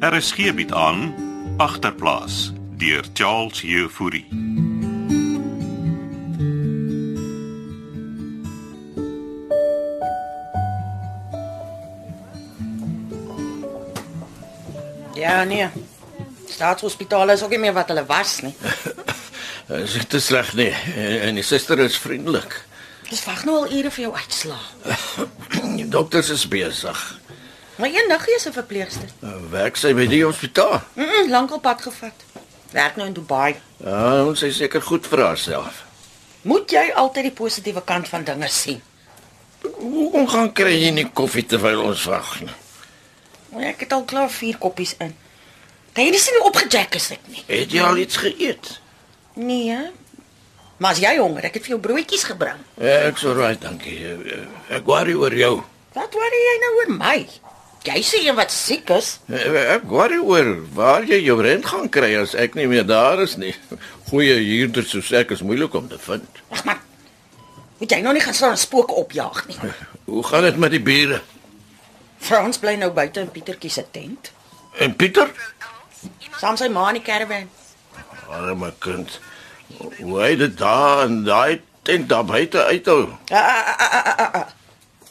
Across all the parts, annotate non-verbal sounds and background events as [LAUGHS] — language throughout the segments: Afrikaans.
Er is geebiet aan agterplaas deur Charles Jefouri. Ja, nee. Staatshospitale is ook nie meer wat hulle was nie. Is dit te sleg nie? En, en die suster is vriendelik. Dis wag nou al ure vir jou uitslaa. Die dokters is besig. Nou Maar eendag is 'n verpleegster. Werk sy by die hospitaal? Mm, -mm lankal pad gevat. Werk nou in Dubai. Ja, ons is seker goed vir haarself. Moet jy altyd die positiewe kant van dinge sien. Hoekom gaan kry jy nie koffie terwyl ons wag nie? Maar ek het al klaar 4 koppies in. Kan jy nie sien hoe opgejack is ek nie? Het jy al iets geëet? Nee. hè? Maar as jy honger, ek het vir jou broodjies gebring. Ja, ek's alright, dankie. Ek worry oor jou. Wat worry jy nou oor my? Jy sê jy wat siek is. Ek worry oor waar jy jou rent gaan kry as ek nie meer daar is nie. Goeie huurders soos ek is moeilik om te vind. Wag maar. Moet jy nou nie gaan staan en spooke opjaag nie. Hoe gaan dit met die bure? Frans bly nou buite in Pietertjie se tent. En Pieter? Saam sy ma in die caravan. Arme kind. Hoe hy dit daar en daai tent daar buite uithou. Ah, ah, ah, ah, ah, ah, ah.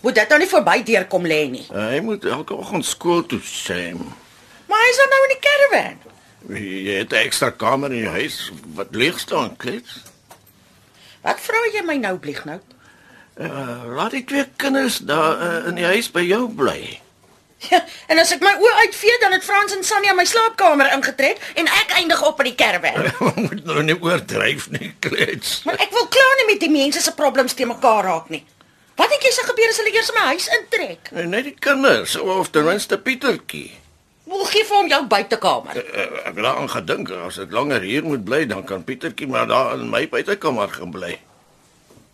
Moet dit nou nie verby deurkom lê nie. Hy moet elke oggend skool toe skem. Maar hy's dan nou in die caravan. Jy het 'n ekstra kamer in die huis wat leeg staan, klets. Wat vra jy my nou blieg nou? Uh, laat die twee kinders daar uh, in die huis by jou bly. [LAUGHS] Ja, en as ek my oë uitvee dan het Frans en Sannie aan my slaapkamer ingetrek en ek eindig op in die caravan. moet nou nie oordryf nie, klets. Maar ek wil klaar nie met die mense se problems te mekaar raak nie. Wat dink jy sal gebeur as hulle eers my huis intrek? Net die kinders of ten minste Pietertjie. Wil gee vir hom jou buitekamer. Uh, ek het daaraan gedink as dit langer hier moet bly, dan kan Pietertjie maar daar in my buitekamer gaan bly.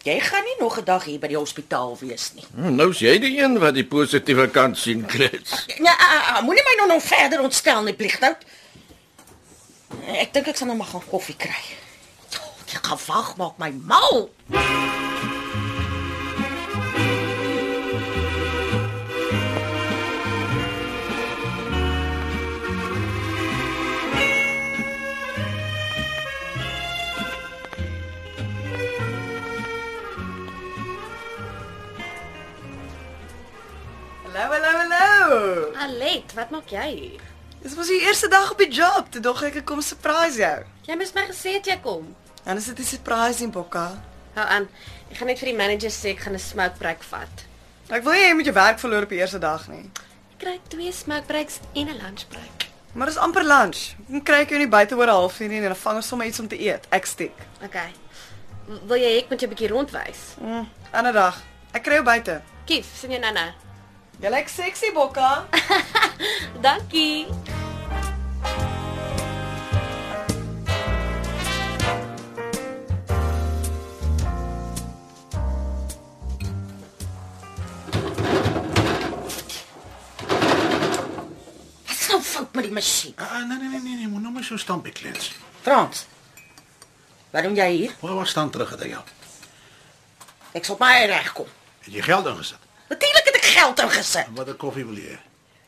Jy gaan nie nog 'n dag hier by die hospitaal wees nie. Hm, Nou is jy die een wat die positiewe kant sien, klets. Ja, ah, ah, moenie my nou nog verder ontstel nie, Pligtout. Ek dink ek sal nou maar gaan koffie kry. Oh, die gewag maak my mal. Hallo, hallo, hallo. Alet, wat maak jy hier? Dis mos die eerste dag op die job, toe dog ek ek kom surprise jou. Jy moes my gesê het jy kom. Dan is dit 'n surprise in Bokka. Hou aan. Ek gaan net vir die manager sê ek gaan 'n smoke break vat. Ek wil nie hê jy moet jou werk verloor op die eerste dag nie. Ek kry twee smoke breaks en 'n lunch break. Maar dis amper lunch. Dan kry ek jou nie buite oor 'n halfuur nie en dan vang ons sommer iets om te eet. Ek steek. Okay. W- Wil jy ek moet jou 'n bietjie rondwys? Mm, ander dag. Ek kry jou buite. Kief, sien jy Nana? Jy lyk sexy, Bokka. Dankie. Wat is nou fout met die masjien? Ah, nee nee nee nee, nee. moet nou maar so staan by klets. Frans. Wat doen jy hier? Waar was staan terug dat jy? Ek sal op my eie reg kom. Het jy geld ingesit? Natuurlik het ek geld ingesit. En watter koffie wil jy? hê?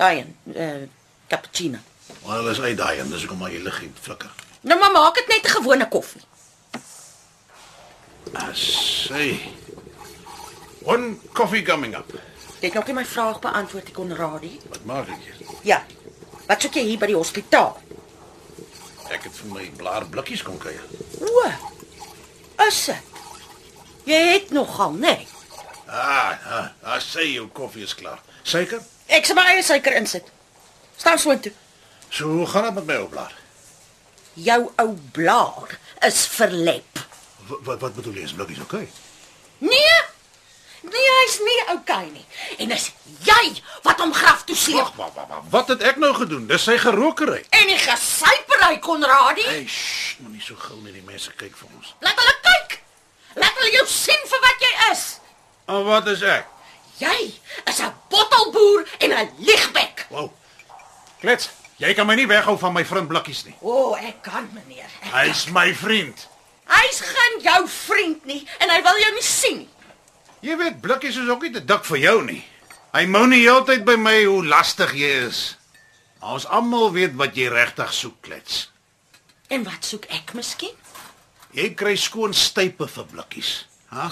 Daai een, eh cappuccino. Maar hulle Oh, is uit daai en dis hoekom maar jy lig hier flikker. Nou maar maak dit net 'n gewone koffie. Asai. Ah, One coffee coming up. Jy het nog nie my vraag beantwoord, die Konradie. Wat maak ek hier? Ja. Wat soek jy hier by die hospitaal? Ek het vir my blaar blikkies kon kry. O. Is dit? Jy het nogal, nee. Ah, ah, asai, jou koffie is klaar. Seker? Ek sal my eie suiker insit. Staan so intoe. So hoe gaan dit met my ou blaar? Jou ou blaar is verlep. Wat wat, wat bedoel jy? Is blikkies oké? Nee. Nee, hy's nie okay nie. En dis jy wat hom graf toe sleep. Wag, wag, wag, wag. Wat het ek nou gedoen? Dis sy gerookery. En die gesypery Konradie, Hey, shh, moenie so gou net die mense kyk vir ons. laat hulle kyk. Laat hulle jou sien vir wat jy is. En wat is ek? Jy is 'n bottelboer en 'n liegbek. Wow. Klets, jy kan my nie weghou van my vriend Blikkies nie. O, oh, ek kan meneer. Hy's my vriend. Hy's geen jou vriend nie en hy wil jou nie sien nie. Jy weet Blikkies is ook nie te dik vir jou nie. Hy mou nie heeltyd by my hoe lastig jy is. Ons almal weet wat jy regtig soek, klets. En wat soek ek miskien? Jy kry skoon stype vir blikkies. Ha?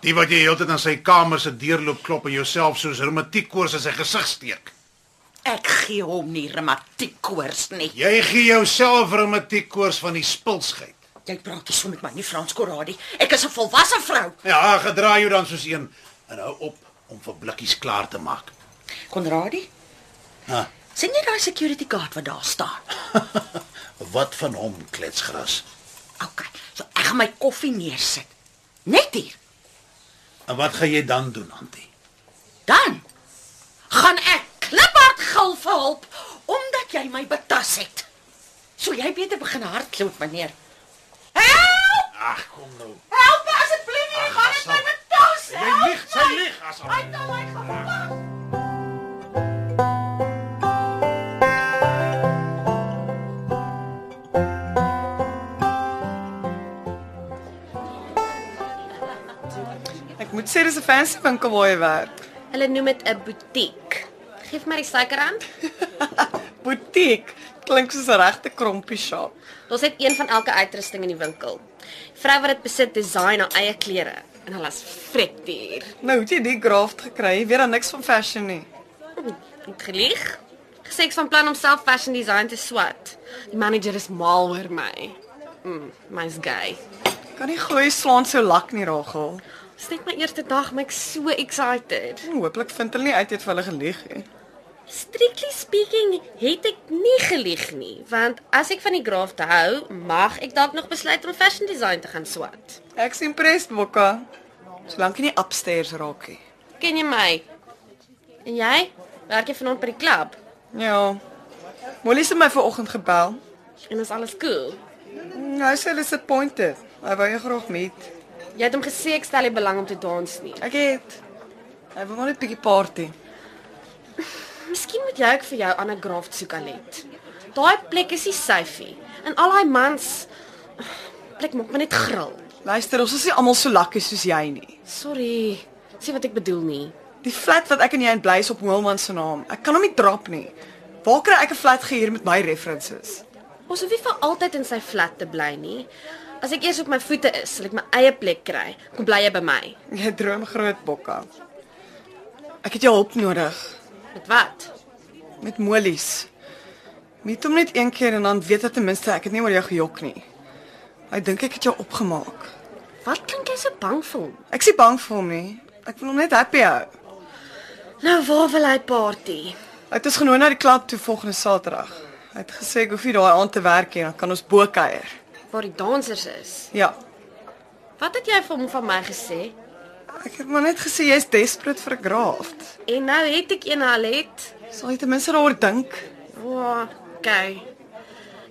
Die wat jy heeltyd aan sy kamer se deurloop klop en jouself soos reumatiekkoors in sy gesig steek. Ek gee hom nie reumatiekkoors nie. Jy gee jouself reumatiekkoors van die spilsheid. Jy praat nie so met my nie, Frans Corradi. Ek is 'n volwasse vrou. Ja, gedra jou dan soos een en hou op om vir blikkies klaar te maak. [LAUGHS] Conradi, Ha? sien jy daai security guard wat daar staan? Wat van hom, kletsgras? OK, so ek gaan my koffie neersit. Net hier. En wat gaan jy dan doen, Antie? Dan gaan ek kliphard gil vir hulp omdat jy my betas het. So jy beter begin hardloop, meneer. Help! Ag, kom nou. Help me asseblief, jy gaan dit my betas. Jy help lieg, sy my. lieg, asseblief. Hy het al my gepak. Ek moet sê dis 'n fancy winkel waar jy werk. Hulle noem dit 'n butiek. Geef my die suikerrand. Butiek klink soos 'n regte krompie shop. Ons het een van elke uitrusting in die winkel. Vrou wat dit besit, design haar eie klere en hulle is fret duur. Nou het jy die graft gekry, jy weet dan niks van fashion nie. Het gelieg. Gesê ek's van plan om self fashion design te swat. Die manager is mal oor my. Mm, my's gay. Kan nie gooi slaan so lak nie, Rachel. Dis net my eerste dag, maar ek's so excited. En Hooplik vind hulle nie uit jy het vir hulle gelieg nie. Strictly speaking, het ek nie gelieg nie, want as ek van die graaf te hou, mag ek dalk nog besluit om fashion design te gaan swat. Ek sien impressed, Bokka. Solank jy nie upstairs raak nie. Ken jy my? En jy? Werk jy vanaand by die klub? Ja. Molly het my vanoggend gebel. En is alles cool? Nou sê hulle sit pointed. Hy wou jou graag meet. Jy het hom gesê ek stel nie belang om te dans nie. Ek het. Hy wil maar net 'n bietjie party. Miskien moet jy ook vir jou ander graaf soek Alet. Daai plek is nie syfie en al daai mans plek maak my net gril. Luister, ons is nie almal so lakkie soos jy nie. Sorry. Sien wat ek bedoel nie. Die flat wat ek en jy in bly is op Hoelman se naam. Ek kan hom nie drop nie. Waar kry ek 'n flat gehuur met my references? Ons hoef nie vir altyd in sy flat te bly nie. As ek eers op my voete is, sal ek my eie plek kry. Kom bly jy by my. Jy droom groot, Bokka. Ek het jou hulp nodig Met wat? met Molies. Meet hom net een keer en dan weet hy ten minste ek het nie oor jou gejok nie. Hy dink ek het jou opgemaak. Wat klink jy so bang vir hom? Ek is nie bang vir hom nie. Ek wil hom net happy hou. Nou waar wil hy party? Hy het ons genooi na die klub toe volgende Saterdag. Hy het gesê ek hoef nie daai aand te werk nie, dan kan ons bo kuier. Waar die dansers is. Ja. Wat het jy vir hom van my gesê? Ek het maar net gesê jy's desperate vir 'n graft. En nou het ek een Alet. Sal jy ten minste daaroor dink? Wow, okay.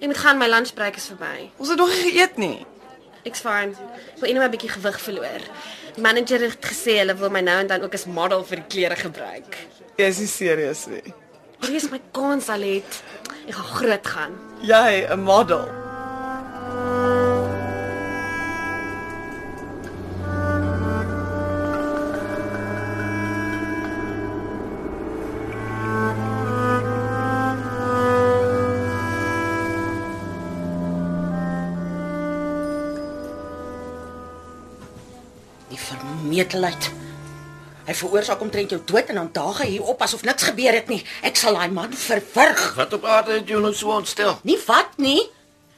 Ek moet gaan, my lunchbreek is verby. Ons het nog nie geëet nie. Ek's fyn. Ek wil net my bietjie gewig verloor. Die manager het gesê hulle wil my nou en dan ook as model vir die klere gebruik. Jy's nie serieus nie. Hier is my kans, Alet. Ek gaan groot gaan. Jy 'n model. Die vermetelheid. Hy veroorsaak omtrent jou dood en dan daag hy hier op asof niks gebeur het nie. Ek sal daai man verwrig. Wat op aarde het jou nou so ontstel? Nie wat nie.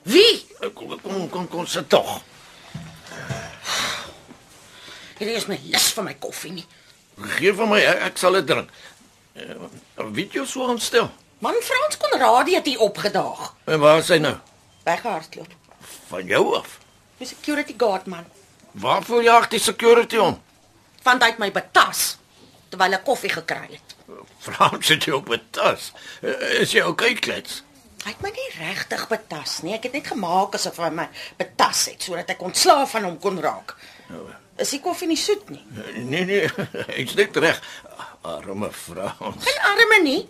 Wie? Kom kom kom kom sit tog. Hierdie is my lus van my koffie nie. Geef vir my, ek, ek sal dit drink. Uh, weet jy so ontstel? Man Frans Conradi het hier opgedaag. En waar is hy nou? Weggehardloop. Van jou af. Die security guard man. Waarvoor jag die security om? Want hy het my betas terwyl ek koffie gekry het. Vraam sit jy op 'n tas. Eh, Is jy okay, klets? Hy het my nie regtig betas nie. Ek het net gemaak asof hy my betas het sodat ek ontslae van hom kon raak. Is die koffie nie soet nie? Eh, Nee nee, [LAUGHS] ek's net reg. Arme vrou. Geen arme nie.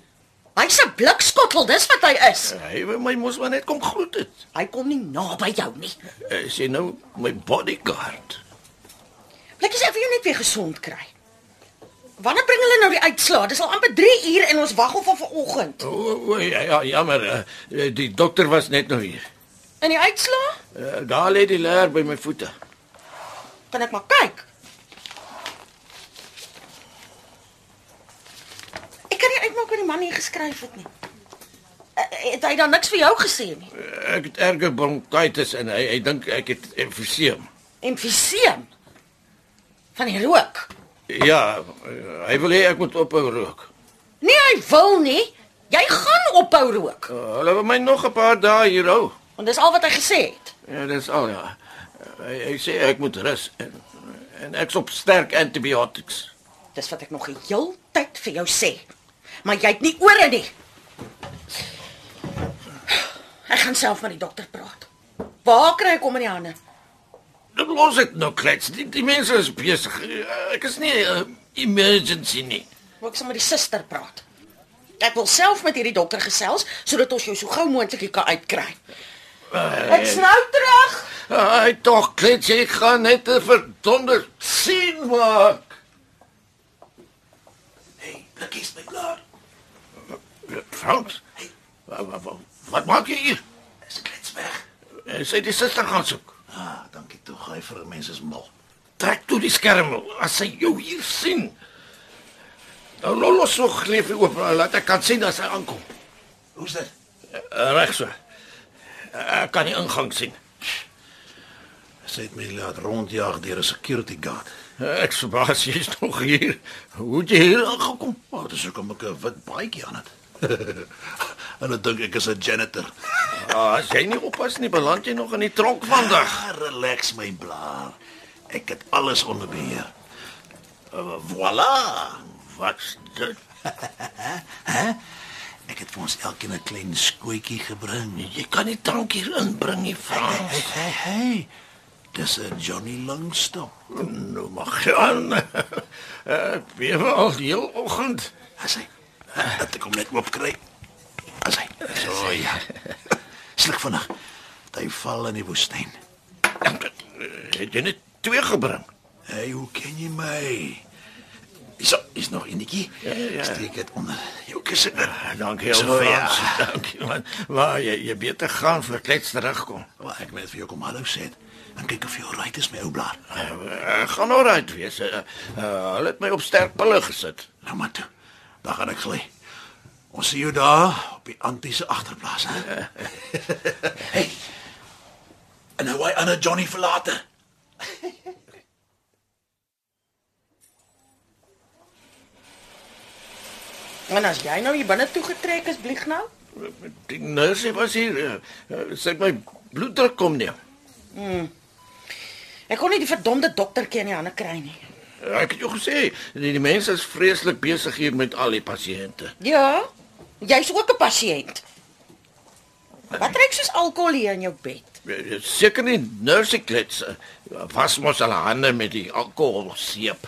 Hy's 'n blikskottel, dis wat hy is. Hy wil my mos maar net kom groet het. Hy kom nie naby jou nie. Eh, Is jy nou my bodyguard? Blikkies ek vir jou net weer gesond kry. Wanneer bring hulle nou die uitslae? Dis al amper 3 uur en ons wag al van vanoggend. O, o, o, ja, ja, jammer. eh, Die dokter was net nou hier. En die uitslae? Eh, Daar lê die leer by my voete. Kan ek maar kyk? Ek kan nie uitmaak wat die man hier geskryf het nie. Eh, Het hy dan niks vir jou gesê nie? Eh, Ek het erge bronkitis en hy hy dink ek het emfyseem. Infiseem. Van die rook. Ja, eh, hy wil hê ek moet ophou rook. Nee, hy wil nie. Jy gaan ophou rook. Eh, Hulle wil my nog 'n paar dae hier hou. Want dis al wat hy gesê het. Ja, dis al ja. Hy, hy sê ek moet rus en en ek's op sterk antibiotics. Dis wat ek nog die hele tyd vir jou sê. Maar jy het nie ore nie. Ek gaan self met die dokter praat. Waar kry ek hom in die hande? Dan los dit nou klets. Die, die mense is besig. Eh, Ek is nie uh, emergency nie. Moet ek saam met die suster praat? Ek wil self met hierdie dokter gesels sodat ons jou so gou moontlik hier kan uitkry. Ek's nou terug. Ai tog klets, jy gaan net 'n verdonder sien maak. Hey, blikkies my klaar. Eh, Frans? Wat, wat, wat maak jy hier? Er Is klets weg. Eh, Sy het die suster gaan soek. Ah, dankie tog. Hy vir mense is mal. Trek toe die skerm as sy jou hier sien. Nou lo- los so gleef oop, laat ek kan sien as hy aankom. Hoe's dit? Eh, Reg so. Eh, Ek kan die ingang sien. Sy het my laat rondjaag deur 'n security guard. Eh, Ek verbaas jy's nog hier. Hoe het jy hier aangekom? Maar dis hoekom ek 'n wit baadjie aan het. [LAUGHS] Hulle dink ek is 'n janitor. Ah, as jy nie oppas nie, beland jy nog in die tronk vandag. Ah, relax my blaar. Ek het alles onder beheer. Uh, voilà. Eh, Wat's [LAUGHS] dit? Ek het vir ons elkeen 'n klein skootjie gebring. Jy kan nie drank hier inbring nie, Frans. hey, hey. Dis 'n Johnny Longstop. Nou mag jy aan. [LAUGHS] Ek bewe al die hele oggend. As hy dat ek hom net oopkry. As hy. So ja. Sluk vinnig. Hy val in die woestyn. Het jy net twee gebring? Hey, hoe ken jy my? Is is nog enetjie? Ja, ja. Ah, Steek dit onder. Jou kussing. Dankie, Zo, Frans. [LAUGHS] ja. Dankie man. Maar jy jy beter gaan vir klets terugkom. Maar ek moet vir jou kom hallo sê. En kyk of jy reg is my ou blaar. Eh, gaan alright wees. Eh, eh, Hulle het my op sterk pille gesit. Nou maar toe. Dan gaan ek gly. Ons sien jou daar op die antiese agterplaas, hè. hey. En hoe hy aan 'n Johnny verlater. En as jy nou hier binne toe getrek is, blieg nou. Eh, Die nurse was hier. eh, eh, Sy het my bloeddruk kom neem. Ek kon nie die verdomde doktertjie in die hande kry nie. Eh, Ek het jou gesê, die, die mense is vreeslik besig hier met al die pasiënte. Ja. Jy's ook 'n pasiënt. Wat trek soos alkohol hier in jou bed? Eh, eh, Seker nie nurse klets. eh, Was mos hulle hande met die alkoholseep.